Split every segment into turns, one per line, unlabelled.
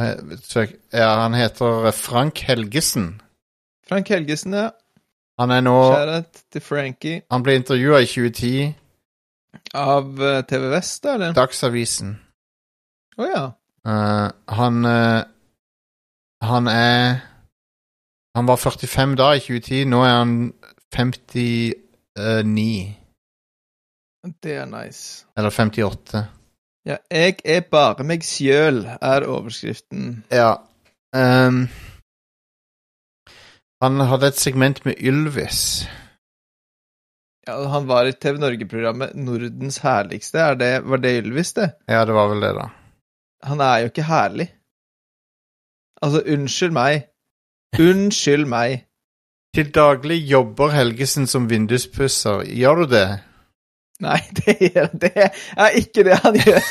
Eh, Søk. Ja, han heter eh, Frank Helgesen.
Frank Helgesen, ja.
Han er nå
Kjærlighet til Frankie.
Han ble intervjua i 2010.
Av eh, TV Vest, da, eller?
Dagsavisen.
Å ja.
Eh, han eh, Han er Han var 45 da i 2010. Nå er han 59.
Det er nice.
Eller 58.
Ja, jeg er bare meg sjøl, er overskriften.
Ja. ehm, han hadde et segment med Ylvis.
Ja, han var i TV Norge-programmet Nordens herligste. Er det, var det Ylvis, det?
Ja, det var vel det, da.
Han er jo ikke herlig. Altså, unnskyld meg. Unnskyld meg.
Til daglig jobber Helgesen som vinduspusser. Gjør du det?
Nei, det, gjør- det er ikke det han gjør.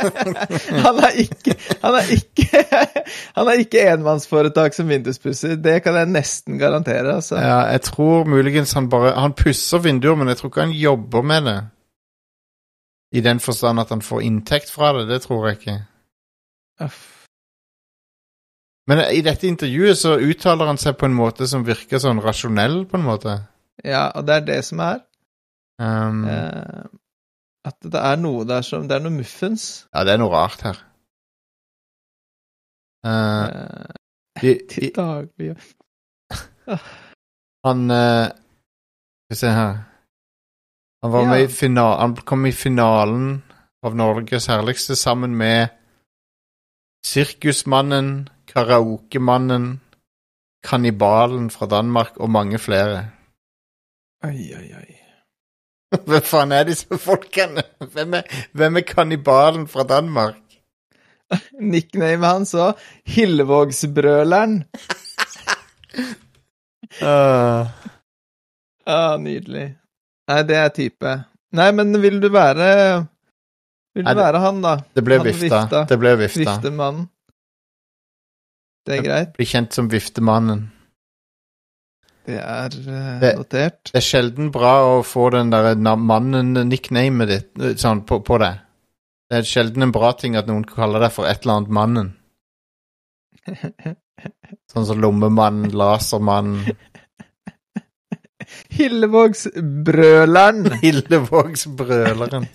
Han er ikke Han er ikke, han er ikke enmannsforetak som vinduspusser. Det kan jeg nesten garantere, altså.
Ja, jeg tror muligens han bare Han pusser vinduer, men jeg tror ikke han jobber med det. I den forstand at han får inntekt fra det. Det tror jeg ikke.
Uff.
Men i dette intervjuet så uttaler han seg på en måte som virker sånn rasjonell, på en måte.
Ja, og det er det som er.
Ehm,
Eh, at det er noe der som Det er noe muffens.
Ja, det er noe rart her. Eh,
Eh,
de, de,
til daglig
han eh, Skal vi se her Han var
Ja.
med i finalen Han kom i finalen av Norges herligste sammen med Sirkusmannen, Karaokemannen, Kannibalen fra Danmark og mange flere.
Oi, oi, oi.
Hvem faen er disse folkene? Hvem er, hvem er kannibalen fra Danmark?
Nicknamet hans òg. Hillevågsbrøleren. Eh, Ah, nydelig. Nei, det er type. Nei, men vil du være Vil
Nei,
du
det-
være han, da?
det ble
Han
vifta.
vifta.
Det ble vifta.
Viftemannen. Det
Ja.
er greit.
Blir kjent som viftemannen.
Det er eh,
Det-
notert.
Det er sjelden bra å få den der na- mannen-nicknamet ditt eh, sånn, på, på deg. Det er sjelden en bra ting at noen kaller deg for et eller annet Mannen. Sånn som Lommemannen, Lasermannen,
Hillevågsbrøleren.
Hillevågsbrøleren.